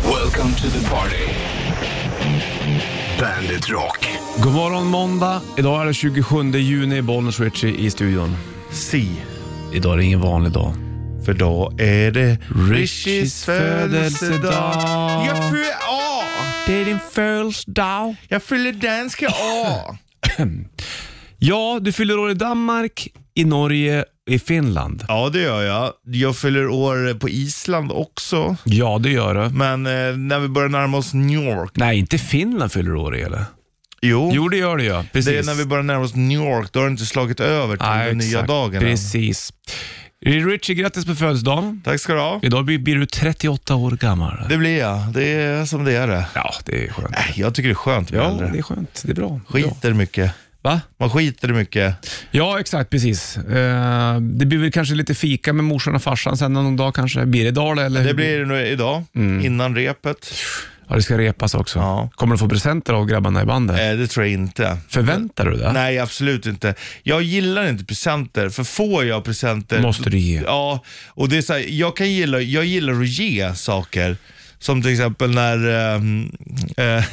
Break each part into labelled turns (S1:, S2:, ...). S1: Welcome to the party. Bandit Rock.
S2: God morgon måndag. Idag är det 27 juni, Bollnäs Ritchie i studion.
S3: Si,
S2: Idag är det ingen vanlig dag.
S3: för då är det
S2: Richies födelsedag.
S3: Jag fyller A!
S2: Det är din födelsedag.
S3: Jag fyller danska A!
S2: Ja, du fyller år i Danmark, i Norge, i Finland.
S3: ja, det gör jag. Jag fyller år på Island också.
S2: Ja, det gör du.
S3: Men eh, när vi börjar närma oss New York.
S2: Nej, inte Finland fyller år i eller?
S3: Jo,
S2: Jo, det gör det ja. Precis.
S3: det är när vi börjar närma oss New York. Då har det inte slagit över till
S2: Nej,
S3: den nya
S2: exakt.
S3: dagen än.
S2: Precis. Richie, grattis på födelsedagen.
S3: Tack ska du ha.
S2: Idag blir, blir du 38 år gammal.
S3: Det blir jag. Det är som det är det.
S2: Ja, det är skönt.
S3: Äh, Jag tycker det är skönt med
S2: Ja,
S3: äldre.
S2: det är skönt. Det är bra. Bra.
S3: Skiter mycket.
S2: Va?
S3: Man skiter mycket.
S2: Ja, exakt. Precis. Eh, det blir väl kanske lite fika med morsan och farsan sen någon dag kanske. Blir det idag eller? hur
S3: Det blir det nu idag,
S2: Mm.
S3: innan repet.
S2: Ja, det ska repas också.
S3: Ja.
S2: Kommer du få presenter av grabbarna i bandet?
S3: Eh, det tror jag inte.
S2: Förväntar du dig?
S3: Nej, absolut inte. Jag gillar inte presenter, för får jag presenter...
S2: Måste du ge?
S3: Ja, och det är så här, jag, kan gilla, jag gillar att ge saker. Som till exempel när, eh, eh,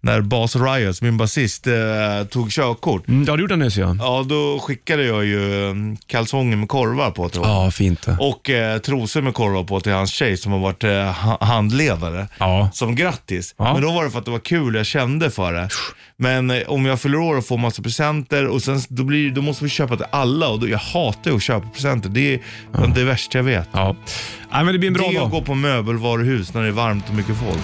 S3: när Bas Ryers, min basist, eh, tog körkort.
S2: Mm, ja, det gjorde han nyss ja.
S3: Ja, då skickade jag ju eh, kalsonger med korvar på till honom.
S2: Ja, fint det.
S3: Och eh, trosor med korvar på till hans tjej som har varit eh, ha- handledare.
S2: Ja.
S3: Som grattis.
S2: Ja.
S3: Men då var det för att det var kul, jag kände för det. Men eh, om jag fyller år och får massa presenter och sen s- då, blir, då måste vi köpa till alla och då, jag hatar ju att köpa presenter. Det är bland det värsta jag vet.
S2: Ja. Nej, men det blir en bra
S3: det är
S2: dag.
S3: att gå på möbelvaruhus när det är varmt och mycket folk.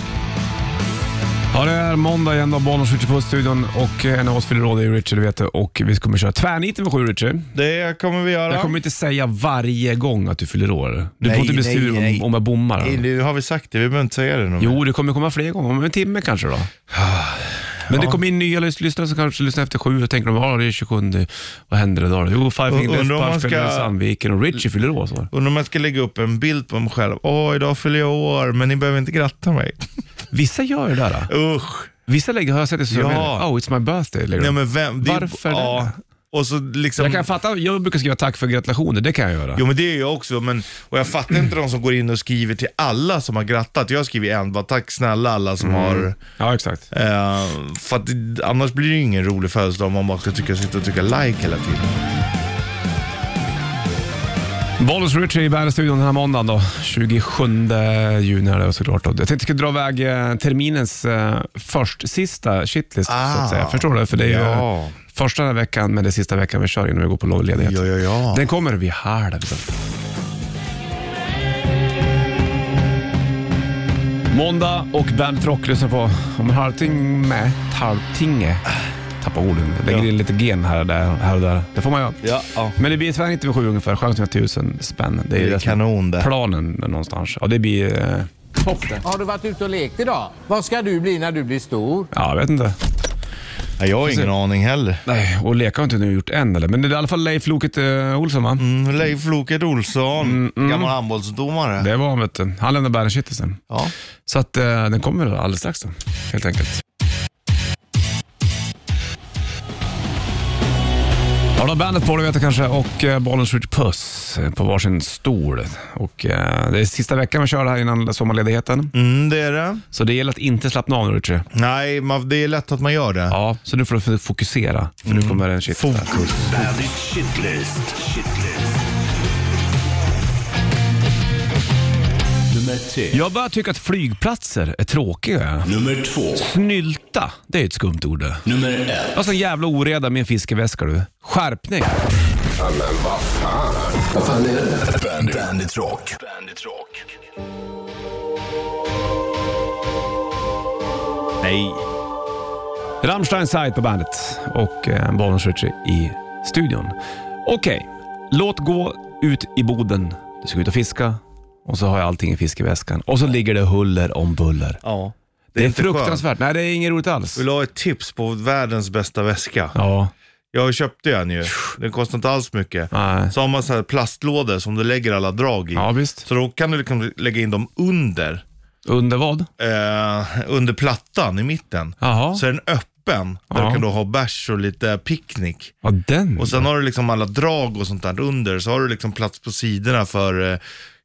S2: Ja, det är måndag igen då. Bonniers Ritchie på studion och eh, en av oss fyller år, det är Richard, du vet det. Och vi kommer köra tvärniten vid sju, Richard.
S3: Det kommer vi göra.
S2: Jag kommer inte säga varje gång att du fyller år. Du
S3: Nej,
S2: får inte bli
S3: nej,
S2: sur om,
S3: nej.
S2: om jag bommar.
S3: Nej, Nu har vi sagt det, vi behöver inte säga det. någon mer.
S2: Jo, det kommer komma fler gånger. Om en timme kanske då. Men det kommer in nya lys- lyssnare som kanske lyssnar efter sju och tänker de, ja det är 27, vad händer idag då? Jo, Five Fingers
S3: undrar om
S2: Punch
S3: man ska-
S2: spelar i Sandviken och Richie fyller år. Så.
S3: Undrar om jag ska lägga upp en bild på mig själv. Åh, idag fyller jag år, men ni behöver inte gratta mig.
S2: Vissa gör ju det där. då.
S3: Usch.
S2: Vissa lägger, har jag sett i sociala
S3: Ja.
S2: medier, oh it's my birthday. Lägger
S3: Nej,
S2: de.
S3: men vem? det är-
S2: Varför det?
S3: ja. Och så liksom...
S2: Jag kan fatta, jag brukar skriva tack för gratulationer, det kan jag göra.
S3: Jo men det är jag också, men, och jag fattar inte de som går in och skriver till alla som har grattat. Jag skriver en, bara tack snälla alla som
S2: Mm.
S3: har...
S2: Ja, exakt.
S3: Eh, för att, det- annars blir det ju ingen rolig födelsedag om man bara ska tycka, sitta och trycka like hela tiden.
S2: Bollnäs Richie i Bandet-studion den här måndagen då. 27 juni är det såklart. Då. Jag tänkte jag skulle dra iväg eh, terminens eh, först sista shitlist så
S3: Ah.
S2: att säga. Förstår du? För det är ju
S3: Ja.
S2: första den här veckan, men det är sista veckan vi kör innan vi går på lovledighet.
S3: Ja, ja, ja.
S2: Den kommer vid halv. Måndag och Bandet Rock lyssnar på om en halvtimme, ett halvtinge. Tappar orden. Jag lägger
S3: Ja.
S2: in lite gen här och där. Här och där. Det får man göra.
S3: Ja, ja.
S2: Men det blir tyvärr inte vid sju ungefär. Chansen är tusen spänn. Det är,
S3: Det är
S2: det som
S3: kanon det.
S2: Planen någonstans. Ja, det blir... eh,
S4: Har du varit ute och lekt idag? Vad ska du bli när du blir stor?
S2: Ja, jag vet inte.
S3: Ja, jag har ingen aning heller.
S2: Nej, och leka har inte nu gjort än eller? Men det är i alla fall Leif Loket eh, Olsson va?
S3: Mm, Leif Loket Olsson, gammal handbollsdomare.
S2: Mm, Det var han vet du. Han lämnade Bandet-shitlisten.
S3: Ja.
S2: Så att eh, den kommer alldeles strax då, helt enkelt. Ja, då bandet på du vet du kanske och eh, bollen skjuter puss eh, på varsin stol. Och, eh, det är sista veckan vi kör det här innan sommarledigheten,
S3: Mm, det är det.
S2: så det gäller att inte slappna av nu Richie.
S3: Nej, man, det är lätt att man gör det.
S2: Ja, så nu får du fokusera, för nu kommer en shit.
S3: Fokus.
S1: Bandit Shitlist. Shitlist. Nummer tre.
S2: Jag börjar tycka att flygplatser är tråkiga.
S1: Nummer två.
S2: Snylta, det är ju ett skumt ord. det.
S1: Nummer ett.
S2: Jag har sån jävla oreda med en fiskeväska du. Skärpning!
S1: Bandit, Bandit Rock. Bandit Rock.
S3: Nej.
S2: Rammstein Side på bandet och eh, Bollnäs Ritchie i studion. Okej, låt gå ut i boden. Du ska ut och fiska och så har jag allting i fiskeväskan och så ligger det huller om buller.
S3: Ja.
S2: Det är,
S3: inte skönt.
S2: fruktansvärt. Nej, det är inget roligt alls.
S3: Vill du ha ett tips på världens bästa väska?
S2: Ja,
S3: Jag köpte en ju. Den kostar inte alls mycket.
S2: Nej.
S3: Så har man så här plastlådor som du lägger alla drag i.
S2: ja visst.
S3: Så då kan du liksom lägga in dem under,
S2: Under vad?
S3: eh, under plattan i mitten.
S2: Jaha.
S3: Så är den öppen. Där
S2: Ja. Mm.
S3: du kan då ha bärs och lite picknick.
S2: Ja, den.
S3: Och sen har du liksom alla drag och sånt där under. Så har du liksom plats på sidorna för eh,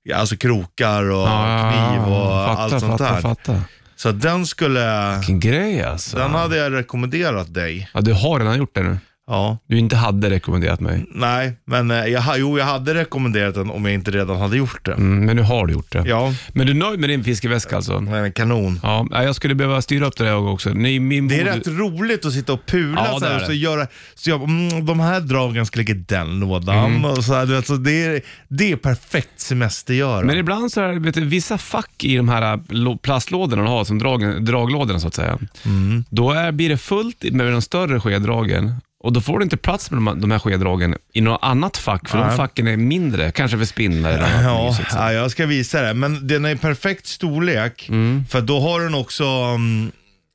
S3: ja, alltså krokar och
S2: ja, ja, ja.
S3: kniv och
S2: Ah, Fattar,
S3: allt sånt
S2: fattar,
S3: där.
S2: Fattar.
S3: Så att den skulle,
S2: Vilken grej alltså.
S3: den hade jag rekommenderat dig.
S2: Ja, du har redan gjort det nu.
S3: Ja,
S2: Du inte hade rekommenderat
S3: Mm.
S2: mig.
S3: nej, men eh, jag, ha- jo jag hade rekommenderat den om jag inte redan hade gjort det.
S2: Mm, men nu har du gjort det.
S3: Ja, Mm.
S2: Men du är nöjd med din fiskeväska alltså?
S3: men kanon.
S2: Ja, nej, jag skulle behöva styra upp det där jag också. Nej, min
S3: Det är
S2: bod-
S3: rätt roligt att sitta och pula
S2: Ja,
S3: så
S2: det är
S3: här, och så
S2: det.
S3: göra, så jag, mm, de här dragen ska ligga i den lådan.
S2: Mm.
S3: Och så här, du vet, så det, är, det är perfekt semestergöra.
S2: Men ibland så är det, vet du, vissa fack i de här äh, lo- plastlådorna de har, som drag, draglådorna så att säga.
S3: Mm.
S2: Då är, blir det fullt med de större skedragen och då får du inte plats med de, de här skedragen i något annat fack, för de facken är mindre, kanske för spindlar eller annat
S3: Ja,
S2: mysigt.
S3: ja, jag ska visa det. Men den är i perfekt storlek, för då har den också mm,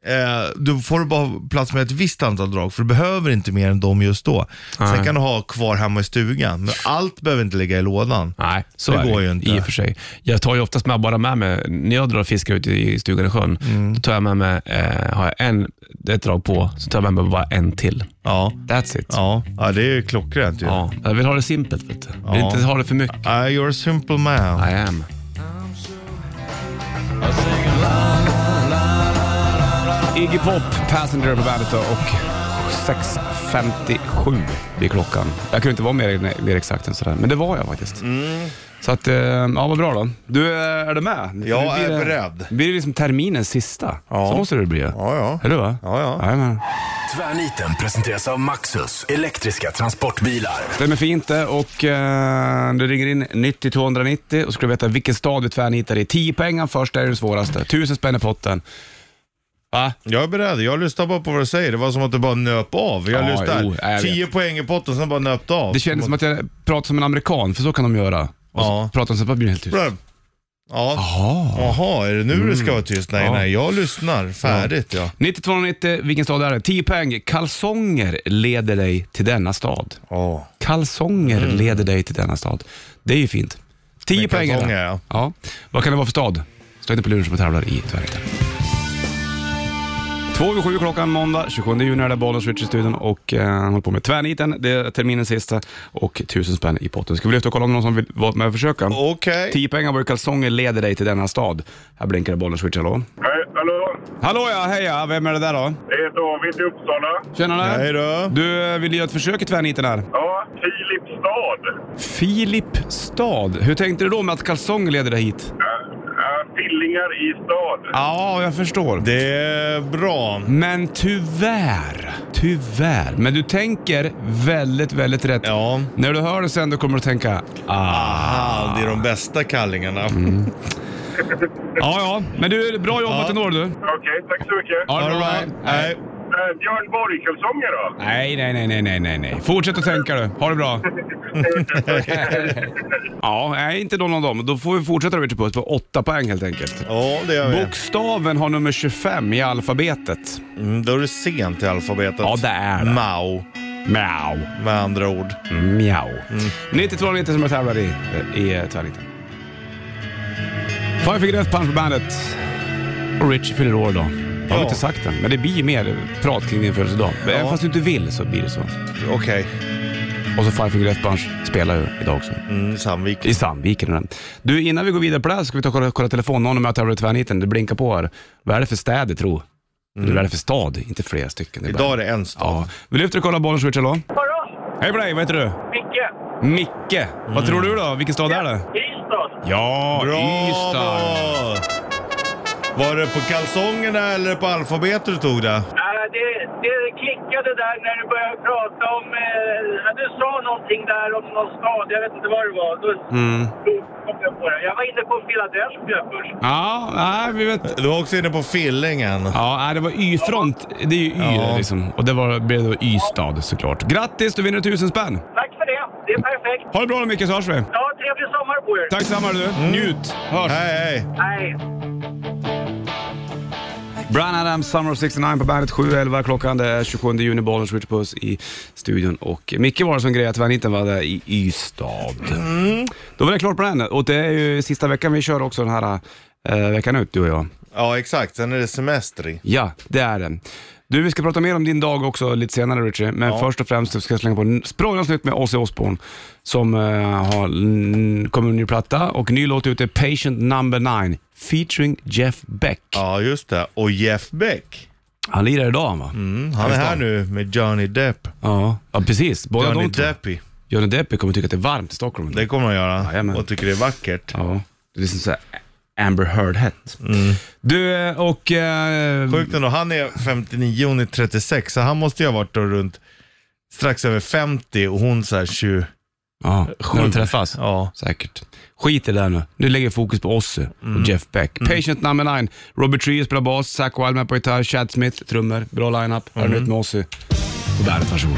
S3: Eh, du får bara plats med ett visst antal drag, för du behöver inte mer än dem just då. Sen kan du ha kvar hemma i stugan, men allt behöver inte ligga i lådan.
S2: Nej, så
S3: Det
S2: är
S3: går
S2: det
S3: ju inte.
S2: i och för sig. Jag tar ju oftast med, bara med mig, när jag drar och fiskar ute i stugan i sjön,
S3: Mm.
S2: då tar jag med mig, eh, har jag en, ett drag på, så tar jag med mig bara en till.
S3: Ja,
S2: That's it. Ja.
S3: ja, ja det är ju klockrent ju.
S2: Jag vill ha det simpelt, vet du. Jag vill
S3: Ja.
S2: inte ha det för mycket.
S3: Ah, you're a simple man.
S2: I am. Iggy Pop, Passenger på bandet då, och 6.57 blir klockan. Jag kunde inte vara mer, mer exakt än sådär, men det var jag faktiskt.
S3: Mm.
S2: Så att, eh, ja vad bra då. Du, eh, är du med?
S3: Jag
S2: Nu blir
S3: är
S2: det-
S3: beredd.
S2: Blir det liksom terminens sista?
S3: Ja.
S2: Så måste det bli. Ja,
S3: ja.
S2: Är du va?
S3: Ja, ja.
S2: Jajamän.
S1: Tvärniten presenteras av Maxus elektriska transportbilar.
S2: Stämmer fint det och eh, du ringer in 90 290 och skulle veta vilken stad vi tvärnitar i. 10 poängen först, det är den svåraste. 1000 spänn i potten. Va?
S3: Jag är beredd, jag lyssnar bara på vad du säger. Det var som att du bara nöp av. Jag
S2: Ja, jo,
S3: lyssnar,
S2: jag
S3: 10 poäng i potten, sen bara nöpte av.
S2: Det kändes som att jag pratade som en amerikan, för så kan de göra. Och så
S3: Ja.
S2: pratar de så bara blir det helt tyst.
S3: Ja. Jaha, är det nu det ska vara tyst? Nej,
S2: Mm. Ja.
S3: nej, jag lyssnar färdigt ja.
S2: 90 290, vilken stad är det? 10 poäng. Kalsonger leder dig till denna stad.
S3: Ja.
S2: Kalsonger
S3: Mm.
S2: leder dig till denna stad. Det är ju fint. 10
S3: Med
S2: poäng är
S3: kalsonger,
S2: det.
S3: ja.
S2: ja. Vad kan det vara för stad? Slå inte på luren som tävlar i Tvärniten. Två över sju klockan måndag, 27 juni är det Bollnäs Switch i studion och eh, han håller på med Tvärniten. Det är terminens sista och tusen spänn i potten. Ska vi lyfta och kolla om någon som vill vara med och försöka?
S3: Okej.
S2: 10 pengar var ju kalsonger leder dig till denna stad. Här blinkar det Bollnäs Switch, hallå?
S5: Hej, hallå.
S2: Hallå ja, heja! Vem är det där då?
S5: Det är David i Uppsala.
S2: Tjenare!
S3: Hej då.
S2: Du, eh, vill du göra ett försök i Tvärniten här?
S5: Ja, Filipstad.
S2: Filipstad. Hur tänkte du då med att kalsonger leder dig hit?
S5: Äh, Fillingar i stad.
S2: Ja, jag förstår.
S3: Det är bra.
S2: Men tyvärr, tyvärr. Men du tänker väldigt, väldigt rätt.
S3: Ja.
S2: När du hör det sen, då kommer du tänka ah.
S3: Ah, det är de bästa kallingarna.
S2: Mm. Ja, ja. Men du, bra jobbat
S3: Ja.
S2: ändå du.
S5: Okej, tack så mycket.
S2: Ja, det är
S3: All
S2: bra.
S3: right.
S2: Nej.
S3: Nej.
S5: Äh, Björn Borg-kalsonger då?
S2: Nej, nej, nej, nej, nej, nej, nej. Fortsätt att tänka du. Ha det bra. ja, nej, inte någon av dem. Då får vi fortsätta Richard Puss på åtta poäng helt enkelt.
S3: Ja, det gör vi.
S2: Bokstaven har nummer 25 i alfabetet.
S3: Mm, då är du sent i alfabetet.
S2: Ja, det är det.
S3: Mao,
S2: Mjau.
S3: med andra ord.
S2: Mjau. 9290 som jag tävlar i, i tvärniten. Five Finger Death Punch på bandet. Och Richie fyller år idag. Jag har
S3: Ja.
S2: inte sagt den, men det blir mer prat kring din födelsedag. Men Även
S3: Ja.
S2: fast du inte vill så blir det så.
S3: Okej.
S2: Och så Five Finger Death Punch spelar ju idag också.
S3: Mm, Sandvik.
S2: I Sandviken. och den. Du, innan vi går vidare på det här ska vi ta och kolla, kolla telefonen om jag tävlar i tvärniten. Det blinkar på här. Vad är det för städer, tro? Eller vad är det för stad? Inte flera stycken. det är bara-
S3: Idag är det en stad.
S2: Ja. Vi lyfter och kollar bollen, switch, hallå?
S6: Hallå,
S2: Hej på dig, vad heter du?
S6: Micke.
S2: Micke. Vad tror du då? Vilken stad är det?
S6: Ystad.
S2: Ja, Ystad.
S3: Bra! Var det på kalsongerna eller på alfabetet du tog det?
S6: Äh, det, det klickade där när du började prata om... Eh, ja, du sa någonting där om någon stad, jag vet inte vad det var. Då då kom jag på det. Jag var inne på Philadelphia först.
S2: Ja, nej, vi vet.
S3: Du var också inne på fillingen.
S2: Ja, nej, det var Y-front. Det är ju Y
S3: Ja.
S2: liksom. Och det var, blev då Ystad såklart. Grattis, du vinner tusen spänn.
S6: Tack för det, det är perfekt.
S2: Ha det bra då Micke, så hörs vi.
S6: Ja, trevlig sommar på er.
S2: Tack samma du. Njut. Hörs.
S3: Hej, hej.
S6: Hej.
S2: Brian Adams, Summer of 69 på bandet 7.11 klockan. Det är 27 juni, bollen skjuter puss i studion. Och Micke var det som grejade tvärniten var där i Ystad.
S3: Mm.
S2: Då var det klart på den. Och det är ju sista veckan vi kör också den här eh, veckan ut, du och jag.
S3: Ja, exakt. Sen är det semester.
S2: Ja, det är den. Du, vi ska prata mer om din dag också lite senare Richie, men först och främst så ska jag slänga på en sprallans nytt med Ozzy Osbourne som eh, har mm, kommer med en ny platta och ny låt ute, Patient Number 9, featuring Jeff Beck.
S3: Ja, just det. Och Jeff Beck.
S2: Han lirar idag han va?
S3: Mm, han är här nu med Johnny Depp.
S2: Ja. ja, precis. Båda
S3: Johnny
S2: de två.
S3: Deppy.
S2: Johnny Depp kommer tycka att det är varmt i Stockholm.
S3: Det kommer han göra
S2: Jajamän.
S3: och tycker det är vackert.
S2: Ja, det är som såhär Amber Heard-hett. Du, eh, och... Eh,
S3: Sjukt ändå. Han är 59 hon är 36, så han måste ju ha varit då runt strax över 50 och hon så här 20.
S2: Ja, när de träffas.
S3: Ja.
S2: Säkert. Skit i det där nu. Nu lägger jag fokus på Ozzy och Jeff Beck. Patient number 9. Robert Trujillo spelar bas, Zach Wildman på gitarr, Chad Smith trummor. Bra line-up. Här är nytt med Ozzy. På bandet, varsågod.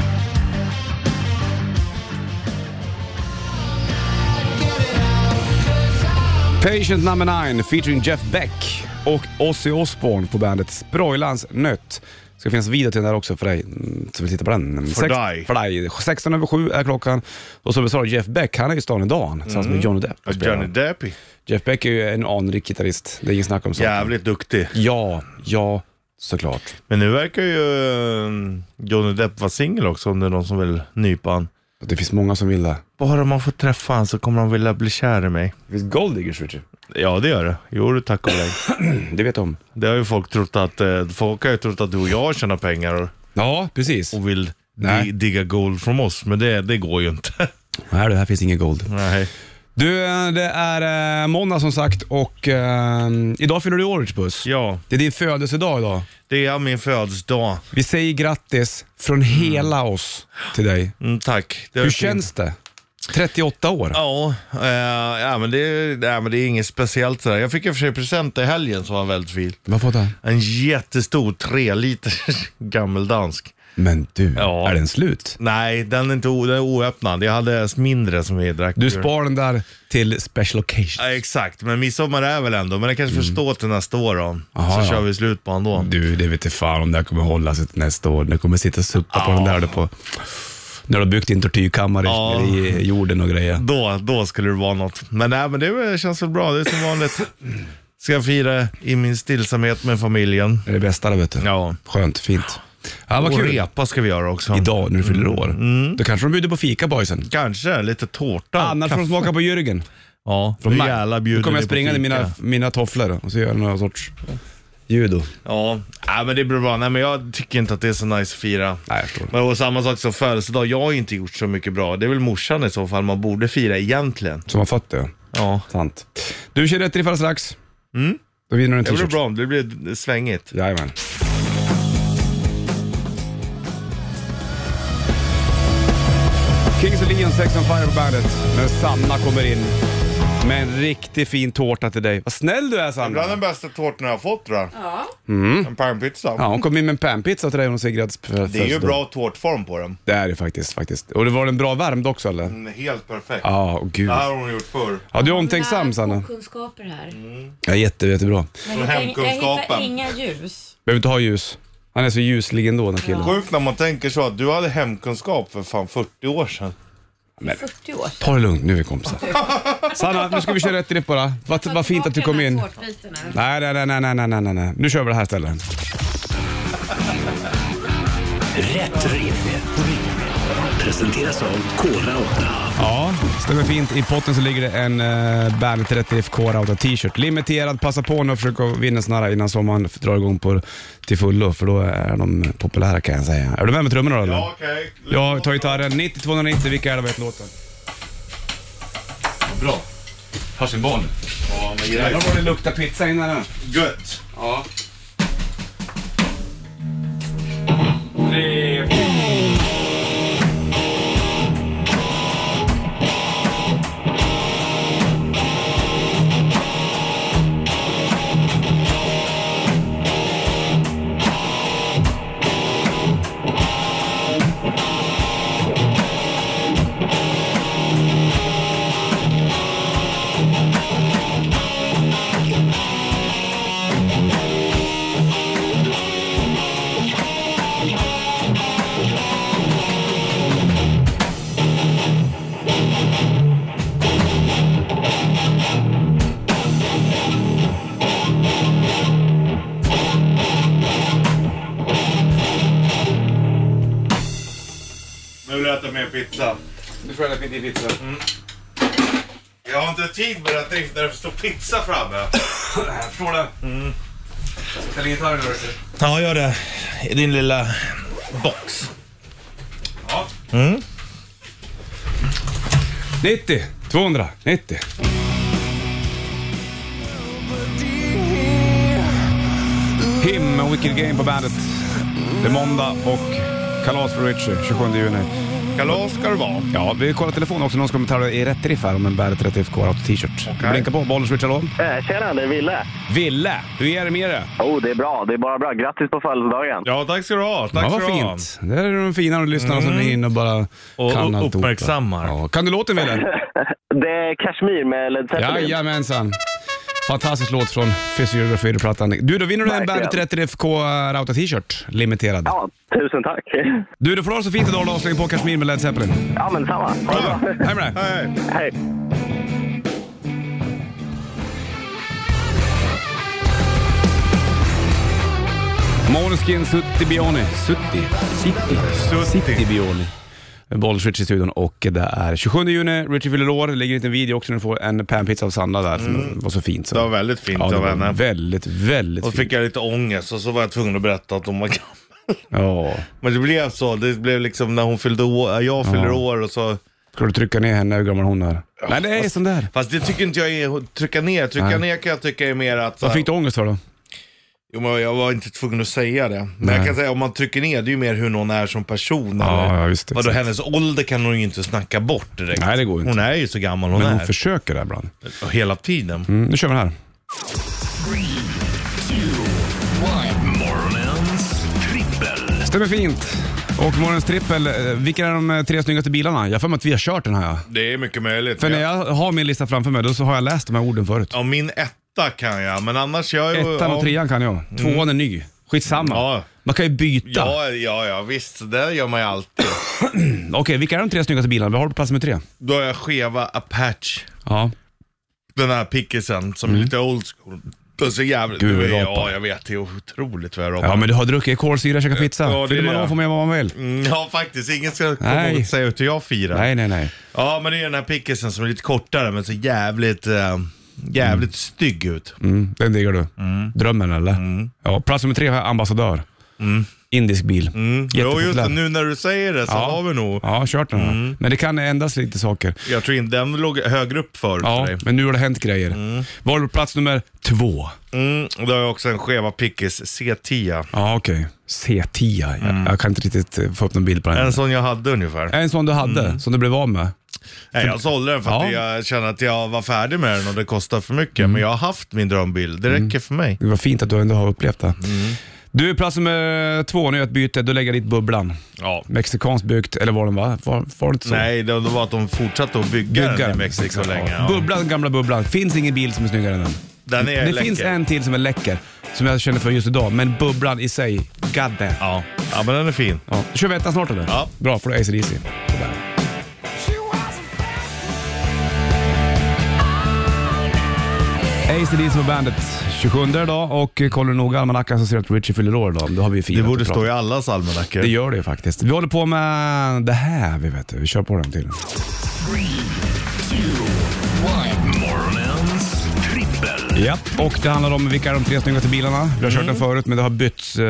S2: Patient number 9 featuring Jeff Beck och Ozzy Osbourne på bandet Sproilans Nött. Det ska finnas video till den där också för dig mm, som vill titta på den.
S3: För dig.
S2: För dig. 16 över 7 är klockan. Och som vi sa, Jeff Beck, han är ju i stan idag han, tillsammans med Mm. Johnny Depp.
S3: Och Johnny Deppy.
S2: Jeff Beck är ju en anrik gitarrist, det är ingen snack om saken.
S3: Jävligt duktig.
S2: Ja, ja, såklart.
S3: Men nu verkar ju eh, Johnny Depp vara singel också om det är någon som vill nypa han.
S2: Det finns många som vill det.
S3: Bara man får träffa han så kommer han vilja bli kär i mig.
S2: Det finns golddiggers, Richard.
S3: Ja, det gör det. Jo, du tack och belägg.
S2: Det vet de.
S3: Det har ju folk trott att, eh, folk har ju trott att du och jag tjänar pengar och,
S2: Ja, precis.
S3: och vill
S2: Nej.
S3: di- digga gold från oss, men det, det går ju inte.
S2: Nej, det här finns ingen gold.
S3: Nej.
S2: Du, eh, det är eh, måndag som sagt och eh, idag fyller du år, Richard Puss.
S3: Ja,
S2: Det är din födelsedag idag.
S3: det är min födelsedag.
S2: Vi säger grattis från hela oss till dig.
S3: Mm, tack. Det var
S2: Hur
S3: fint.
S2: känns det? 38 år.
S3: Ja, eh, ja, men det, nej, men det är inget speciellt sådär. Jag fick i och för sig present i helgen som var väldigt fin.
S2: Vad får det?
S3: En jättestor tre liter gammeldansk.
S2: Men du,
S3: Ja.
S2: är den slut?
S3: Nej, den är inte o, den är oöppnad. Jag hade mindre som vi drack.
S2: Du
S3: ur.
S2: spar den där till special occasion.
S3: Ja, exakt, men midsommar är väl ändå. Men jag kanske får stå till nästa år då.
S2: Mm. Aha,
S3: så
S2: ja.
S3: kör vi slut på honom då.
S2: Du, det vete fan om det här kommer hålla sig till nästa år. Du kommer sitta och suppa på den där du på... När du har byggt din tortyrkammare
S3: Ja.
S2: i- i jorden och grejer.
S3: Då, då skulle det vara något. Men, nej, men det känns väl bra. Det är som vanligt. Ska jag fira i min stillsamhet med familjen.
S2: Det är det bästa det vet du.
S3: Ja.
S2: Skönt, fint. Ja, vad
S3: och
S2: kul.
S3: repa ska vi göra också.
S2: Idag när du fyller
S3: Mm.
S2: år. Då kanske de bjuder på fika boysen.
S3: Kanske lite tårta.
S2: Annars får de smaka på Jürgen.
S3: Ja,
S2: Ah, Från
S3: nu
S2: Mac.
S3: jävlar bjuder
S2: Då kommer jag
S3: ni på
S2: springa i
S3: fika.
S2: mina, mina tofflor och så gör jag någon sorts judo.
S3: Ja, nej, men det blir bra. Nej, men jag tycker inte att det är så nice att fira.
S2: Nej, jag förstår.
S3: Men och samma sak som födelsedag. Jag har ju inte gjort så mycket bra. Det är väl morsan i så fall man borde fira egentligen.
S2: Som har fött det,
S3: Ja.
S2: sant. Du kör rätt riff alldeles strax. Då vinner du en
S3: Mm. Det blir
S2: t-shirt.
S3: bra. Det blir svängigt.
S2: Jajamän. Kings of Leon, Sex on Fire på bandet. Men Sanna kommer in med en riktigt fin tårta till dig. Vad snäll du är
S3: Bland
S2: Sanna!
S3: den bästa tårtan jag har fått tror jag. Ja. En pangpizza.
S2: Mm. Ja, hon kom in med en panpizza till dig och hon säger grattis på
S3: Det är ju bra tårtform på den.
S2: Det är det faktiskt, faktiskt. Och det var en bra värmd också eller?
S3: Den är helt perfekt.
S2: Ja, åh gud.
S3: Det här har hon gjort förr.
S2: Ja, du är omtänksam Sanna.
S7: kunskaper här.
S2: Ja, jätte, jättebra.
S7: Men jag, hittar, jag hittar
S3: hemkunskapen.
S7: inga ljus.
S2: Behöver inte ha ljus. Han är så ljuslig ändå den här killen.
S3: Sjukt när man tänker så att du hade hemkunskap för fan 40 år sedan.
S7: 40 år.
S2: Ta det lugnt, nu är vi kompisar. Sanna, nu ska vi köra rätt riff bara. Vad, vad fint att du kom in. Nej, nej, nej, nej, nej, nej, nej, nej. Nu kör vi det här stället.
S1: Rätt riff. Presenteras av Kora 8.
S2: Ja, stämmer fint. I potten så ligger det en uh, Bandet Rätt Riff Core Auto t-shirt. Limiterad, passa på nu och försök att vinna såna här innan sommaren drar igång på, till fullo, för då är de populära kan jag säga. Är du med med trummorna då eller?
S3: okej.
S2: Jag tar gitarren. 90 290, vilka är det vet låten? Bra. Hörs i barn.
S3: Ja, men
S2: Jävlar
S3: grejs.
S2: vad det luktar pizza innan nu.
S3: Gött.
S2: Ja. Tre,
S7: Åh,
S3: jag äta mer pizza. Mm.
S2: Du får äta lite pizza.
S3: Jag har inte tid med att drift när det står pizza framme.
S2: Jag förstår det. Mm. Ställ gitarren nu. Richard.
S3: Ja, gör det. I din lilla box.
S2: 90, 200, 90. Him med Wicked Game på bandet. Det är måndag och kalas för Richie 27 juni.
S3: Kalas ska det vara.
S2: Ja, vi kollar telefonen också. Någon ska tävla i rätt riff här om en bandet rätt riff kvar och t-shirt. Blinka på. Bollens Richie, hallå?
S8: Eh, Tjena, det är Ville.
S2: Ville, hur är det med dig?
S8: Oh, det är bra. Det är bara bra. Grattis på födelsedagen.
S3: Ja, tack ska du ha. Tack
S2: Ja,
S3: ska
S2: vad
S3: du ha.
S2: fint. Det är de finare lyssnarna som är inne och bara
S3: Och
S2: kan alltihopa.
S3: uppmärksammar.
S2: Ja. Kan du låten, Ville?
S8: Eh, Det är Kashmir med Led Zeppelin.
S2: Jajamensan. Fantastisk låt från Physiography-plattan. Du, då vinner du en
S8: Verkligen.
S2: Bandet 30 FK Rauta t-shirt. Limiterad.
S8: Ja, tusen tack.
S2: Du, du får ha det så fint idag då. Släng på Kashmir med Led Zeppelin.
S8: Ja, men samma. Ha det bra.
S2: Hej med dig.
S3: Hej.
S8: Hej.
S2: Måneskin Sutti Bioni. Sutti. City. City Bioni. Bollswitch i studion och det är 27 juni. Richie fyller år. Det ligger en liten video också när du får en panpizza av Sanna där. Som var så fint. Så.
S3: Det var väldigt fint
S2: ja, det
S3: av
S2: var
S3: henne.
S2: Väldigt, väldigt
S3: Och
S2: fint.
S3: fick jag lite ångest och så var jag tvungen att berätta att hon var gammal.
S2: Ja.
S3: Men det blev så. Det blev liksom när hon fyllde år, jag fyller år och så.
S2: Ska du trycka ner henne? Hur gammal hon är? Nej, det är sån där.
S3: Fast det tycker inte jag är att trycka ner. Trycka
S2: Nej.
S3: ner kan jag tycka är mer att... så
S2: Vad
S3: här-
S2: fick du ångest för då?
S3: Jo, men jag var inte tvungen att säga det. Men
S2: Nej.
S3: jag kan säga om man trycker ner, det är ju mer hur någon är som person.
S2: Ja,
S3: eller-
S2: ja, just det,
S3: Vadå,
S2: exakt.
S3: hennes ålder kan hon ju inte snacka bort direkt.
S2: Nej, det går ju
S3: Hon är ju så gammal hon
S2: Men hon
S3: är.
S2: försöker där ibland.
S3: Hela tiden.
S2: Mm, nu kör vi den här.
S1: Morgonens trippel.
S2: Stämmer fint. Och morgonens trippel. eh, Vilka är de eh, tre snyggaste bilarna? Jag har för mig att vi har kört den här. ja.
S3: Det är mycket möjligt.
S2: För när
S3: Ja.
S2: jag har min lista framför mig, då så har jag läst de här orden förut.
S3: Ja, min etta kan jag, men annars... Jag, är ju-
S2: Ettan
S3: ja. Mm.
S2: och trean kan jag. Tvåan är ny. Skitsamma.
S3: Ja.
S2: Man kan ju byta.
S3: Ja, ja, ja, visst. Det där gör man ju alltid.
S2: Okej, vilka är de tre snyggaste bilarna? Vi har du på plats nummer tre?
S3: Då har jag skeva Apache.
S2: Ja.
S3: Den här pickisen som är lite old school. Den ser jävligt...
S2: Mm. Gud, vad jag
S3: ja,
S2: rapar.
S3: jag vet. Det är otroligt vad jag rapar.
S2: Ja, men du har druckit kolsyra, käkat pizza.
S3: Eh, Ja, det är
S2: Fyller man
S3: det.
S2: av får man göra vad man vill.
S3: Mm, ja, faktiskt. Ingen ska komma
S2: Nej.
S3: och säga hur jag firar.
S2: Nej, nej, nej.
S3: Ja, men det är den här pickisen som är lite kortare men så jävligt, eh, jävligt stygg ut.
S2: Mm, den diggar du. Drömmen eller?
S3: Mm.
S2: Ja, plats nummer tre har jag ambassadör. Indisk bil. Mm.
S3: Jo, just det. Nu Mm. när du säger det så
S2: Ja.
S3: har vi nog.
S2: Ja, kört den. här. Men det kan ändras lite saker.
S3: Jag tror inte den låg högre upp förut
S2: Ja,
S3: för dig.
S2: men nu har det hänt grejer. Var du på plats nummer två?
S3: Mm, och då har jag också en skeva pickis C10.
S2: Ja, okej. C10. Jag, jag kan inte riktigt eh, få upp någon bild på den.
S3: Mm. En Mm. sån jag hade ungefär.
S2: En sån du hade, som du blev av med.
S3: Nej, jag sålde den för att
S2: Ja. Mm.
S3: jag kände att jag var färdig med den och det kostade för mycket. Men jag har haft min drömbil. Det räcker för mig.
S2: Det var fint att du ändå har upplevt det.
S3: Mm.
S2: Du är plats nummer två, nu är ett byte. Du lägger jag dit Bubblan.
S3: Ja.
S2: Mexikanskt byggt, eller var den va? Var, var det inte så?
S3: Nej, det var att de fortsatte att bygga, den i
S2: Byggaren.
S3: Mexiko
S2: Exakt,
S3: länge.
S2: ja.
S3: Ja.
S2: Bubblan, gamla bubblan. Finns ingen bil som är snyggare än den.
S3: Den är
S2: det
S3: läcker.
S2: finns en till som är läcker, som jag känner för just idag. Men bubblan i sig, god damn.
S3: Ja. ja, men den är fin.
S2: Ja. Kör vi ettan snart eller?
S3: Ja.
S2: Bra, får du ACDC. ACDC på bandet 27 idag och eh, kollar du noga almanackan så ser du att Richie fyller år idag. Då har vi ju
S3: Det
S2: firat
S3: borde
S2: och
S3: stå
S2: pratat.
S3: i allas almanackor.
S2: Det gör det ju faktiskt. Vi håller på med det här, vi vet du. Vi kör på den till.
S1: Morgonens trippel.
S2: Ja, och det handlar om vilka är de tre snyggaste bilarna. Vi har kört
S3: Mm.
S2: den förut men det har bytts. Eh,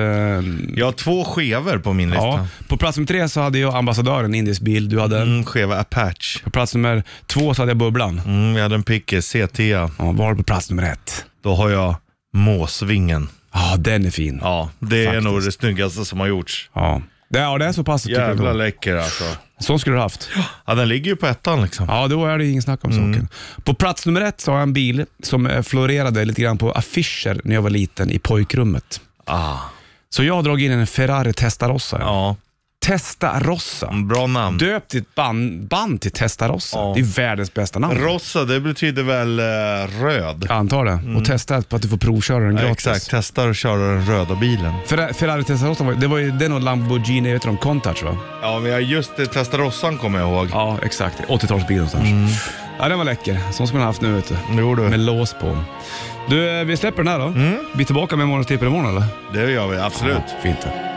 S3: Jag har två skevor på min lista.
S2: ja. På plats nummer tre så hade jag ambassadören, indisk bil. Du hade
S3: Mm, skeva Apache.
S2: På plats nummer två så hade jag Bubblan.
S3: Mm, jag hade en pickis, C10.
S2: Ja, var det på plats nummer ett?
S3: Då har jag Måsvingen.
S2: Ja, den är fin. Ja.
S3: Ja, det är
S2: Faktiskt.
S3: nog det snyggaste som har gjorts.
S2: Det, ja, det är så pass. tycker jag
S3: Jävla
S2: då.
S3: läcker alltså.
S2: Sån skulle du haft.
S3: Ja, den ligger ju på ettan liksom.
S2: Ja, då är det ingen snack om saken. På plats nummer ett så har jag en bil som eh, florerade lite grann på affischer när jag var liten i pojkrummet.
S3: Ah.
S2: Så jag har dragit in en Ferrari Testarossa. Ja.
S3: Ja,
S2: Testarossa.
S3: bra namn.
S2: Döpt ditt band, band till Testarossa.
S3: Ja.
S2: Det är världens bästa namn.
S3: Rossa, det betyder väl eh, röd?
S2: jag antar det. Och testa på att du får provköra den
S3: Ja,
S2: gratis.
S3: Exakt, testar att köra den röda bilen.
S2: Ferra- Ferrari Testarossa, var- det var ju den och Lamborghini, vet du de, Countach va?
S3: Ja, men jag just det, Testarossan kommer jag ihåg.
S2: Ja, exakt. 80-talsbil någonstans. Mm. Ja, den var läcker. Sån skulle man haft nu vet du.
S3: Det gjorde
S2: Med
S3: du.
S2: lås på. Du, eh, vi släpper den här då. Vi är tillbaka med morgonens tippel imorgon eller?
S3: Det gör vi, absolut.
S2: Ja, fint det.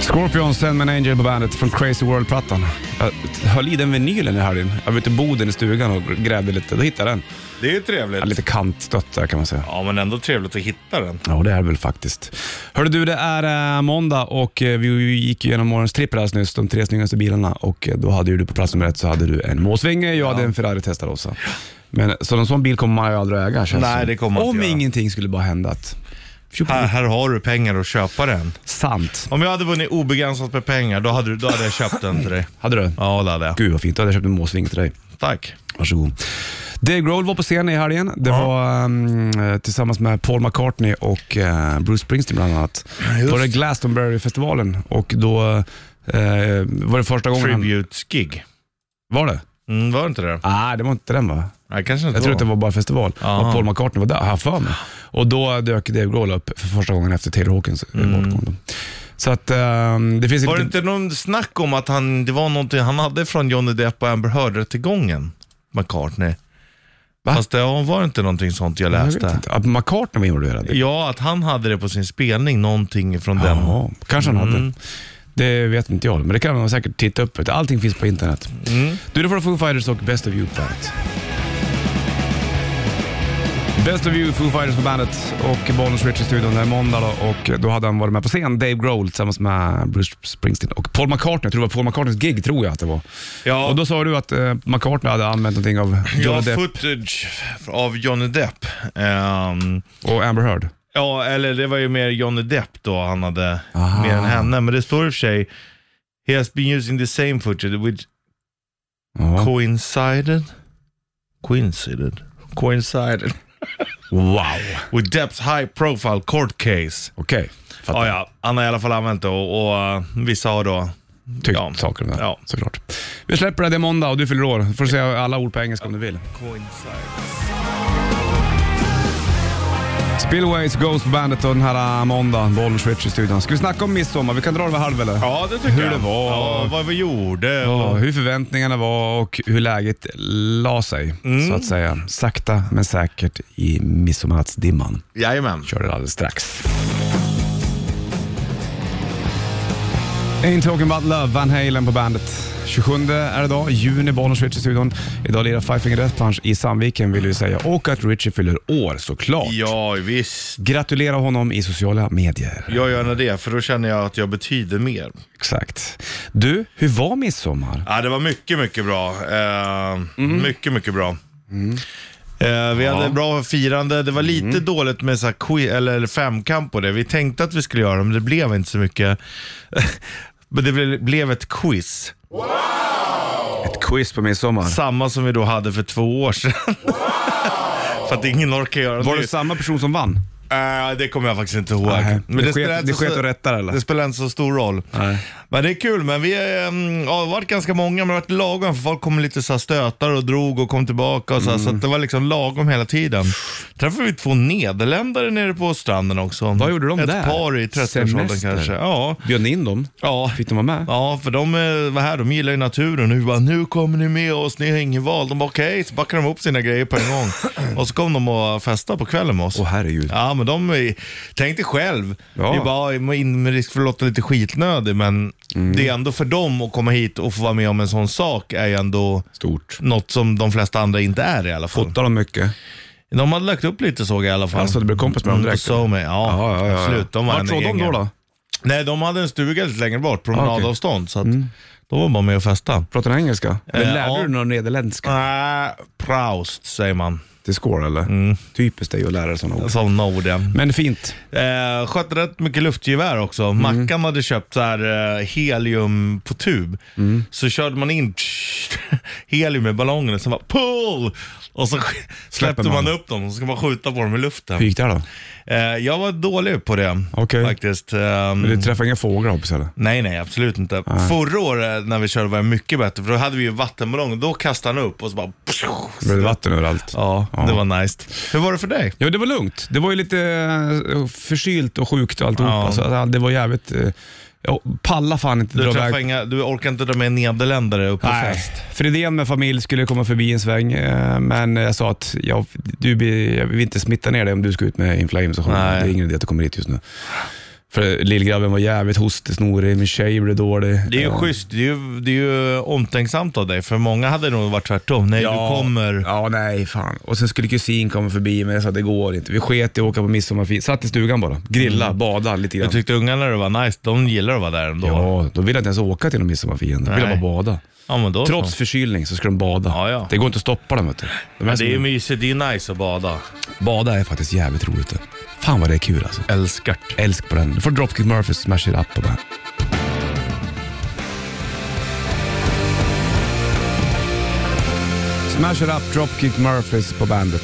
S2: Scorpions, Send Me An Angel på bandet från Crazy World-plattan. Jag höll i den vinylen i helgen. Jag var ute i Boden i stugan och grävde lite. Då hittade jag den.
S3: Det är ju
S2: Ja,
S3: trevligt.
S2: lite kantstött där kan man säga.
S3: Ja, men ändå trevligt att hitta den.
S2: Ja, det är det väl faktiskt. Hörru du, det är eh, måndag och eh, vi gick ju igenom morgonens trippel alldeles nyss, de tre snyggaste bilarna. Och eh, då hade ju du på plats nummer ett så hade du en Måsvinge, jag hade en Ferrari Testarossa. Men så en sån bil kommer man ju aldrig att äga känns
S3: Nej,
S2: som.
S3: det kommer man
S2: Om
S3: inte göra.
S2: ingenting skulle bara hända att...
S3: Här, här har du pengar att köpa den.
S2: Sant.
S3: Om jag hade vunnit obegränsat med pengar, då hade, du, då hade jag köpt den till dig.
S2: Hade du?
S3: Ja, det hade jag.
S2: Gud vad fint, då hade jag köpt en Måsvinge till dig.
S3: Tack.
S2: Varsågod. Dave Grohl var på scen i helgen. Det var ehm, tillsammans med Paul McCartney och eh, Bruce Springsteen bland annat. På det Glastonbury-festivalen och då eh, var det första gången han...
S3: Tributes-gig.
S2: Var det?
S3: Mm, var det inte det?
S2: Nej, det var inte den va?
S3: Nej, kanske inte
S2: Jag trodde att det var bara festival.
S3: Ja.
S2: Och Paul McCartney var där, har jag för mig. Och då dök Dave Grohl upp för första gången efter Taylor Hawkins mm. bortgång. då. Så att ehm, det finns
S3: Var det
S2: inte...
S3: inte någon snack om att han, det var någonting han hade från Johnny Depp och Amber Heard-rättegången? McCartney.
S2: Va?
S3: Fast det ja, var det inte någonting sånt jag
S2: Jag vet
S3: läste?
S2: inte. Att McCartney var involverad.
S3: Ja, att han hade det på sin spelning, någonting från den. Mm.
S2: Jaha, kanske han hade. Det vet inte jag, men det kan man säkert titta upp. Allting finns på internet.
S3: Mm.
S2: Du, då får du Foo Fighters och Best of You på bandet. Best of You, Foo Fighters på bandet och Bonus Rich i studion. Det är måndag då, och då hade han varit med på scen, Dave Grohl, tillsammans med Bruce Springsteen och Paul McCartney. Jag tror det var Paul McCartneys gig, tror jag att det var.
S3: Ja.
S2: Och då sa du att eh, McCartney hade använt någonting av Johnny
S3: Ja,
S2: Depp
S3: footage av Johnny Depp. Ehm,
S2: och Amber Heard.
S3: ja, eller det var ju mer Johnny Depp då han hade, mer än henne. Men det står i och för sig, He has been using the same footage which
S2: Ja.
S3: coincided, coincided, coincided
S2: Wow!
S3: with Depps high profile court case.
S2: Okej,
S3: Ja,
S2: fattar.
S3: ja, han har i alla fall använt det och, och eh, vissa har då...
S2: tyckt
S3: Ja.
S2: saker om det.
S3: Ja.
S2: Såklart. Vi släpper det, det är måndag och du fyller år. får du säga alla ord på engelska om du vill. Spillways Ghost Bandet och den här äh, måndagen, Bollen Switch i studion. Ska vi snacka om midsommar? Vi kan dra det vid halv eller?
S3: Ja, det tycker
S2: Hur
S3: jag.
S2: det var.
S3: Ja, vad vi gjorde.
S2: Ja,
S3: Och,
S2: hur förväntningarna var och hur läget la sig,
S3: Mm.
S2: så att säga. Sakta men säkert i midsommarnattsdimman.
S3: jajamän.
S2: Kör det alldeles strax. Ain't talking about love, Van Halen på bandet. 27 är det idag, juni, Bollnäs Switch i studion. Idag lirar Five Finger Death Punch i Sandviken vill vi säga. Och att Richie fyller år såklart.
S3: Ja, visst.
S2: Gratulera honom i sociala medier.
S3: Jag gör gärna det, för då känner jag att jag betyder mer.
S2: Exakt. Du, hur var midsommar?
S3: Ja, det var mycket, mycket bra. Eh,
S2: Mhm.
S3: Mycket, mycket bra.
S2: Mm.
S3: Eh, vi hade bra firande. Det var lite dåligt med så här que- eller, eller femkamp på det. Vi tänkte att vi skulle göra det, men det blev inte så mycket. men det ble- blev ett quiz.
S2: Ett quiz på midsommar.
S3: Samma som vi då hade för två år sedan. för att ingen orkar göra
S2: Var
S3: nytt.
S2: det samma person som vann?
S3: Eh, det kommer jag faktiskt inte ihåg.
S2: Nej, det sket-
S3: spelar inte
S2: det
S3: så-
S2: sket och rättar, eller?
S3: Det spelar inte så stor roll.
S2: Nej.
S3: Men det är kul, men vi är, mm, ja, det har varit ganska många, men det har varit lagom för folk kom lite så här, stötar och drog och kom tillbaka och så, här,
S2: Mm.
S3: så att det var liksom lagom hela tiden. Träffade vi två nederländare nere på stranden också.
S2: Vad gjorde de
S3: Ett
S2: där?
S3: Ett par i 30-årsåldern
S2: Semester.
S3: kanske. Ja.
S2: Bjöd ni in dem?
S3: Ja.
S2: Fick de vara med?
S3: Ja, för de eh, var här, de gillar ju naturen. Och vi bara, nu kommer ni med oss, ni har ingen val. De bara, okej, så backade de upp sina grejer på en gång. och så kom de och festade på kvällen med oss.
S2: Åh herregud.
S3: Ja, men de är, tänk dig själv.
S2: Ja.
S3: Det är bara in med risk för att låta lite skitnödig, men
S2: Mm.
S3: det är ändå för dem att komma hit och få vara med om en sån sak är ju ändå
S2: Stort.
S3: något som de flesta andra inte är i alla fall.
S2: Fotade de mycket?
S3: De hade lagt upp lite såg jag i alla fall.
S2: Alltså, du blev kompis med dem
S3: Mm,
S2: direkt?
S3: Så med, ja, absolut. De var
S2: Vart
S3: en
S2: var de
S3: gäng.
S2: då? då? Ah,
S3: Nej, de hade en stuga lite längre bort, promenadavstånd. Så att
S2: Mm.
S3: då var man med och festa.
S2: Pratar ni engelska? Eller
S3: Eh,
S2: lärde
S3: ja.
S2: du dig någon nederländska?
S3: Nej, Äh, Proust säger man.
S2: till skål eller?
S3: Mm.
S2: Typiskt dig att lära dig sådana ord.
S3: Som ord ja.
S2: Men fint.
S3: Eh, skötte rätt mycket luftgevär också. Mackan hade köpt så här, eh, helium på tub. Så körde man in helium i ballongerna, sen bara pull! Och så sk- släppte man.
S2: man.
S3: upp dem och så ska man skjuta på dem i luften.
S2: Hur gick det här då?
S3: Eh, jag var dålig på det
S2: Okej.
S3: faktiskt. Ehm,
S2: Du träffade inga fåglar hoppas jag eller?
S3: Nej, nej, absolut inte. Förra året när vi körde var jag mycket bättre, för då hade vi ju vattenballong. Då kastade han upp och så bara...
S2: Det blev vatten överallt.
S3: Ja, det var nice. Hur var det för dig?
S2: Ja, det var lugnt. Det var ju lite eh, förkylt och sjukt och alltihopa.
S3: Ja.
S2: Så att det var jävligt... eh, Jag pallar fan inte
S3: Du,
S2: dra
S3: träffade
S2: iväg.
S3: inga, du orkar inte dra med nederländare upp på
S2: Nej.
S3: fest?
S2: Fredén med familj skulle komma förbi en sväng, eh, men jag sa att jag, du, blir- jag vill inte smitta ner dig om du ska ut med influensa. Det
S3: Nej.
S2: är ingen idé att du kommer hit just nu. För lillgrabben var jävligt hostig, snorig, min tjej blev dålig.
S3: Det är ju
S2: ja.
S3: schysst, det är ju, det är ju omtänksamt av dig, för många hade nog varit tvärtom. Nej, du kommer...
S2: Ja, nej fan. Och sen skulle kusin komma förbi, men jag sa det går inte. Vi sket i att åka på midsommarfirande. Satt i stugan bara. Grilla, bada lite grann.
S3: Mm. Jag tyckte ungarna det var nice, de gillar att vara där ändå.
S2: Ja, då vill jag inte ens åka till någon midsommarfirande. Då vill jag
S3: Nej.
S2: bara bada.
S3: Ja, men då så.
S2: Trots förkylning så ska de bada.
S3: Ja, ja.
S2: Det går inte att stoppa dem vet du. De
S3: Men
S2: här
S3: det är ju
S2: som-
S3: mysigt, det är ju nice att bada.
S2: Bada är faktiskt jävligt roligt. Det. Fan vad det är kul alltså.
S3: Älskar
S2: Älsk på den. Du får Dropkick Murphys Smash It Up på den. Smash It Up, Dropkick Murphys på bandet.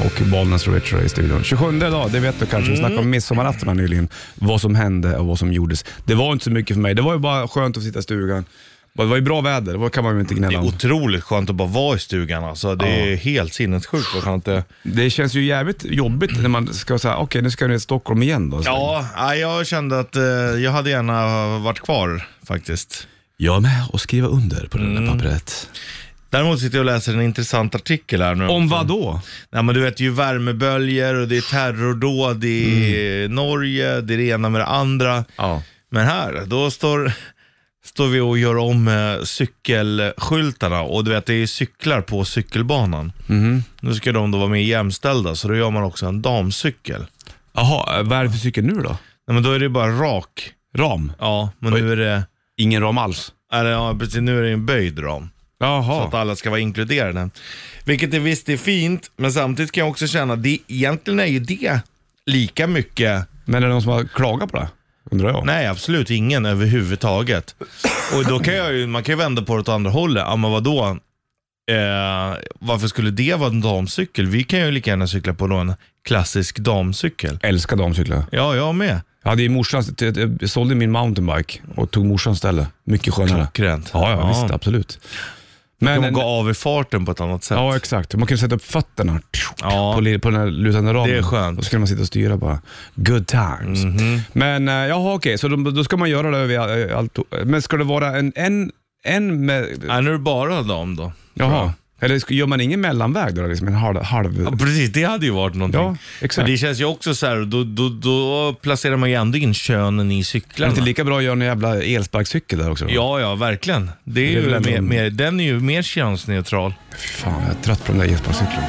S2: Och Bollnäs och Richard i studion. 27 idag, det vet du kanske. Vi snackade om
S3: Mm.
S2: midsommarafton här nyligen. Vad som hände och vad som gjordes. Det var inte så mycket för mig. Det var ju bara skönt att sitta i stugan. Det var ju bra väder, det kan man ju inte
S3: Det
S2: gnälla
S3: är
S2: om.
S3: otroligt skönt att bara vara i stugan alltså. Det är helt sinnessjukt vad skönt det är.
S2: Det känns ju jävligt jobbigt när man ska säga okej nu ska jag ner till Stockholm igen då.
S3: Ja, nej, jag kände att eh, jag hade gärna varit kvar faktiskt.
S2: Jag är med och skriva under på det där pappret.
S3: Däremot sitter jag och läser en intressant artikel här nu.
S2: Om vad då?
S3: Nej, men du vet, det är ju värmeböljor och det är terrordåd i
S2: Mm.
S3: Norge, det är det ena med det andra.
S2: Ja.
S3: Men här, då står, står vi och gör om eh, cykelskyltarna och du vet, det är ju cyklar på cykelbanan. Nu ska de då vara mer jämställda, så då gör man också en damcykel.
S2: Jaha, vad är det för cykel nu då?
S3: Nej, men då är det bara rak.
S2: Ram?
S3: Ja, men nu är det,
S2: Ingen ram alls?
S3: är det, ja, precis, nu är det en böjd ram. Så att
S2: Jaha.
S3: alla ska vara inkluderade. Vilket är visst är fint, men samtidigt kan jag också känna att det egentligen är ju det lika mycket
S2: Men är det någon som har klagat på det? Undrar jag.
S3: Nej, absolut ingen överhuvudtaget. Och då kan jag ju, man kan ju vända på det åt andra hållet. Ja, men vadå? Eh, varför skulle det vara en damcykel? Vi kan ju lika gärna cykla på då en klassisk damcykel.
S2: Älskar damcyklar.
S3: Ja, jag med.
S2: Jag hade ju morsans, jag sålde min mountainbike och tog morsans ställe. Mycket skönare.
S3: Klockrent.
S2: Ja, ja, visst absolut. Men,
S3: De går av i farten på ett annat sätt.
S2: ja, exakt. Man kunde sätta upp fötterna
S3: Ja.
S2: på, li- på den här lutande ramen.
S3: Det är skönt. Mhm.
S2: Då skulle man sitta och styra bara. Good times. Men eh, jaha, okej, så då, då ska man göra det över eh, allt. Men ska det vara en, en, en med,
S3: Är nu bara dam då?
S2: Jaha. Eller sk- gör man ingen mellanväg då? Liksom en halv... halv...
S3: Ja, precis, det hade ju varit någonting.
S2: Ja, exakt.
S3: Men det känns ju också så här, då, då, då placerar man ju ändå in könen i
S2: Är det
S3: cyklarna.
S2: inte lika bra att göra en jävla elsparkcykel där också? då?
S3: Ja, ja, verkligen. Det
S2: Det är
S3: är
S2: väl
S3: ju
S2: ändå
S3: mer,
S2: en-
S3: mer, den är ju mer könsneutral.
S2: Fan, jag är trött på de där elsparkcyklarna.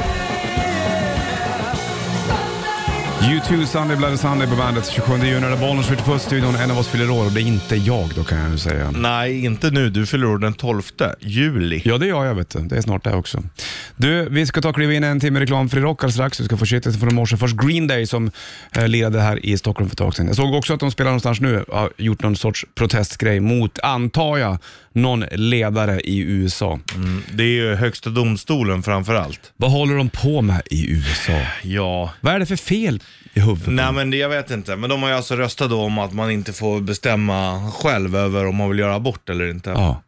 S2: U2 Sunday Bloody Sunday på bandet 27 juni. Där bollen skjuter på studion. En av oss fyller år och det är inte jag då kan jag nu säga.
S3: Nej, inte nu. Du fyller år den 12 juli.
S2: Ja, det gör jag vet du. Det är snart det också. Du, vi ska ta och kliva in i en timme reklamfri rock alldeles strax. Du ska få shitet från i morse. Först Green Day som eh, lirade här i Stockholm för ett tag sedan. Jag såg också att de spelar någonstans nu. Har gjort någon sorts protestgrej mot, antar jag, någon ledare i USA.
S3: Mm, Det är ju högsta domstolen framför allt.
S2: Vad håller de på med i USA?
S3: Ja.
S2: Vad är det för fel i huvudet?
S3: Nej men det, jag vet inte. Men de har ju alltså röstat då om att man inte får bestämma själv över om man vill göra abort eller inte.
S2: Ja.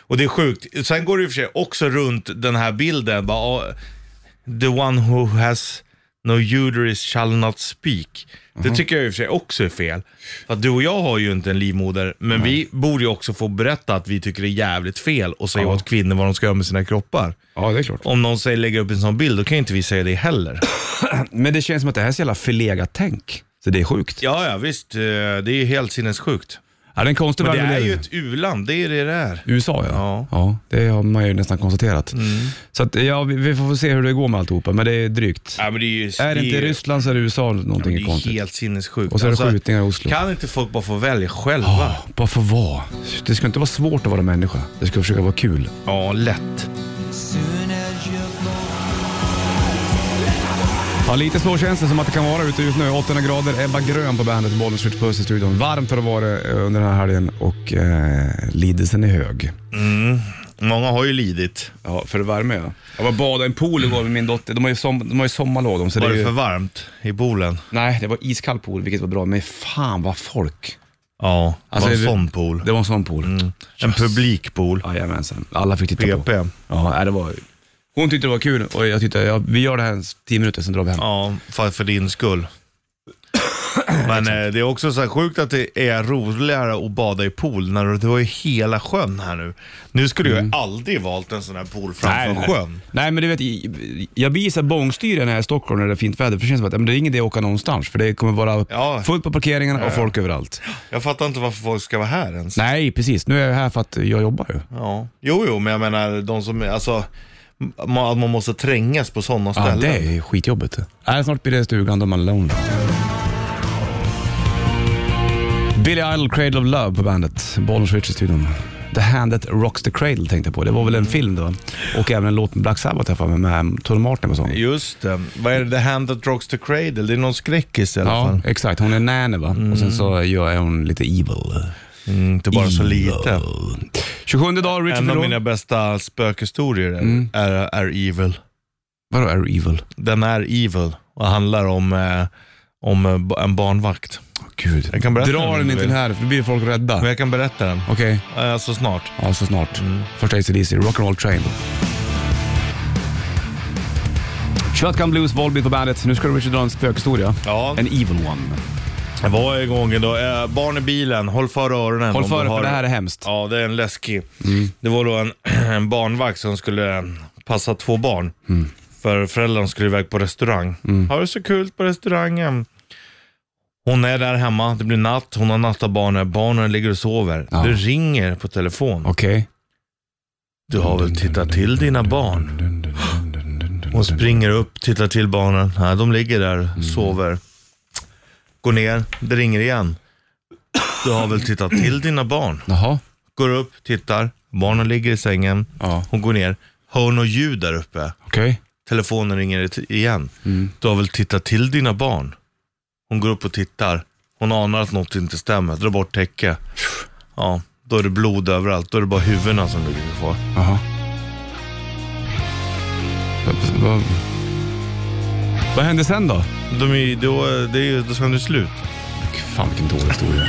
S3: Och det är sjukt. Sen går det i och för sig också runt den här bilden. Bara, ah, The one who has no uterus shall not speak. Det tycker jag i och för sig också är fel. För att du och jag har ju inte en livmoder, men vi borde ju också få berätta att vi tycker det är jävligt fel och säga åt kvinnor vad de ska göra med sina kroppar.
S2: ja, det är klart.
S3: Om någon säger lägga upp en sån bild, då kan ju inte vi säga det heller.
S2: Men det känns som att det här är så jävla förlegat tänk. Så det är sjukt. Ja,
S3: Ja, ja visst. eh, Det är ju helt sinnessjukt.
S2: det är en konstig
S3: Men
S2: värld
S3: det
S2: vi
S3: är
S2: lever
S3: ju
S2: i.
S3: ett u-land, det är det det är.
S2: USA ja. ja. Mm.
S3: Ja.
S2: det har man ju nästan konstaterat. Så att, ja, vi, vi får se hur det går med alltihopa, men det är drygt.
S3: Ja, men det är ju,
S2: Är det inte i Ryssland så är det USA någonting
S3: Det är
S2: konstigt.
S3: helt sinnessjukt. Alltså,
S2: Och så är det skjutningar i Oslo. Ah.
S3: Kan inte folk bara få välja själva?
S2: Ja, bara för vara. Det ska inte vara svårt att vara människa. Det ska försöka vara kul.
S3: Ja, lätt.
S2: Ja, lite så känns det som att det kan vara ute just nu. 800 grader, Ebba Grön på bandet Bollnäs Ritch Puss i studion. Varmt har det varit eh, under den här helgen och eh, lidelsen är hög.
S3: Många har ju lidit.
S2: Ja, för det värme ja. Jag var och badade i en pool igår med min dotter. De har ju, som, de har ju sommarlov de, så
S3: Var
S2: det är
S3: det
S2: ju...
S3: för varmt i poolen?
S2: Nej, det var iskall pool vilket var bra, men fan vad folk.
S3: Ja,
S2: Alltså,
S3: det var en
S2: det-
S3: sån pool. Mm.
S2: Det var en sån pool.
S3: En publikpool.
S2: Jajamensan, alla fick titta på.
S3: PP.
S2: Ja, nej, det var... Hon tyckte det var kul och jag tyckte, ja, vi gör det här en s- tio minuter, sen drar vi hem.
S3: Ja, för, för din skull. Men eh, det är också så här sjukt att det är roligare att bada i pool när du- det var ju hela sjön här nu. Nu skulle jag ju aldrig valt en sån här pool framför sjön.
S2: Mm. Nej, men du vet, i- jag blir så här bångstyrig när jag är i Stockholm när det är fint väder. För det känns som att ja, men det är ingen idé att åka någonstans, för det kommer vara
S3: Ja.
S2: fullt på parkeringarna och folk överallt.
S3: Jag fattar inte varför folk ska vara här ens.
S2: Nej, precis. Nu är jag här för att jag jobbar ju.
S3: Ja. Jo, jo, men jag menar de som, alltså, ma- att man måste trängas på sådana
S2: Ja,
S3: ställen.
S2: det är skitjobbigt. Nej, snart blir det stugan då man är alone. Billy Idol, Cradle of Love på bandet. Bollnäs Rich i studion. The Hand That Rocks The Cradle tänkte jag på. Det var väl en film då? Och även en låt med Black Sabbath jag har för mig, med Tony Martin och sånt.
S3: Just det. Vad är det? The hand that rocks the cradle? Det är någon skräckis i alla
S2: Ja,
S3: fall.
S2: exakt. Hon är nanny va? Och sen så gör hon lite evil.
S3: Mm, inte Mm. bara så lite.
S2: 27 dag, Richard
S3: En av
S2: Ferrell.
S3: mina bästa spökhistorier är, är, är Evil.
S2: Vadå är du evil?
S3: Den är Evil och handlar om, eh, om eh, ba- en barnvakt.
S2: Åh, Gud.
S3: Jag kan berätta den
S2: Dra
S3: om
S2: den
S3: du
S2: inte
S3: vill.
S2: här för då blir folk rädda.
S3: Men
S2: Okej,
S3: jag kan berätta den. Eh, så snart.
S2: ja, så snart. Första ACDC, Rock'n'Roll Train. Shotgun Blues, Volbeat på bandet. Nu ska du Richard dra en spökhistoria.
S3: Ja.
S2: En evil one.
S3: Det var en gång då. Eh, barn i bilen, håll för öronen.
S2: Håll
S3: om
S2: för
S3: du
S2: dig
S3: har-
S2: för det här är hemskt.
S3: Ja, det är en läskig. Det var då en, en barnvakt som skulle eh, passa två barn. För föräldrarna skulle iväg på restaurang. Har det så kul på restaurangen. Hon är där hemma, det blir natt, hon har nattat barnen, barnen ligger och sover.
S2: Ja.
S3: Det ringer på telefon.
S2: Okej.
S3: Du har väl tittat till dina barn? Hon springer upp, tittar till barnen. Nej, de ligger där, sover. Går ner, det ringer igen. Du har väl tittat till dina barn?
S2: Jaha.
S3: Går upp, tittar. Barnen ligger i sängen.
S2: Ja.
S3: Hon går ner. Hör hon något ljud där uppe?
S2: Okej.
S3: Telefonen ringer it- igen.
S2: Mm.
S3: Du har väl tittat till dina barn? Hon går upp och tittar. Hon anar att något inte stämmer. Drar bort täcke. Ja, då är det blod överallt. Då är det bara huvudena som ligger kvar.
S2: Jaha. Vad- Vad, vad hände sen då?
S3: De är, ju- då, det är, ju- då ska det slut.
S2: Fan vilken dålig historia.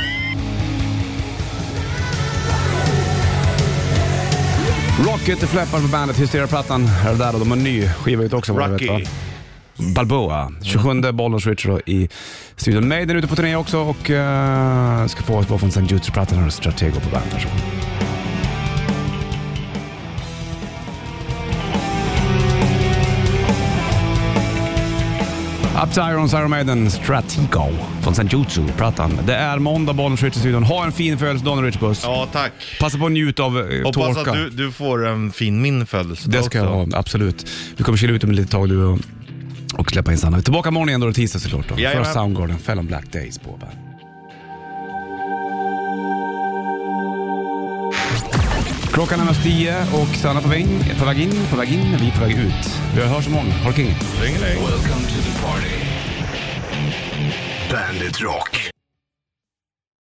S2: Rocket är fläppar på bandet Hysteria-plattan. Här och där och de har en ny skiva ute också. vad jag
S3: Rocky.
S2: vet, va? Balboa.
S3: Mm.
S2: 27 Bollnäs Richard då i studion. Maiden är ute på turné också och eh, ska få ett var från St. Jude's-plattan. Här har du Stratego på bandet. varsågod. Up to Irons, Iron Maiden, Stratego från St. Jutsu-plattan. Det är måndag, Bollnäs Richard i studion. Ha en fin födelsedag nu Richard Puss.
S3: Ja, tack.
S2: Passa på att njuta av eh,
S3: Hoppas
S2: torka.
S3: att du, du får en fin min födelsedag
S2: Det ska jag
S3: också.
S2: ha, absolut. Du kommer kila ut om ett litet tag du och, och släppa in Sanna. Vi är tillbaka imorgon igen då, det är tisdag såklart. Då. För
S3: Jajamän.
S2: Soundgarden, Fell on Black Days på bandet. Klockan är närmast tio och Sanna på väg in, på väg in, på väg in, vi är på väg ut. Vi hörs imorgon. Ha det kring.
S1: Welcome to the party. Bandit Rock.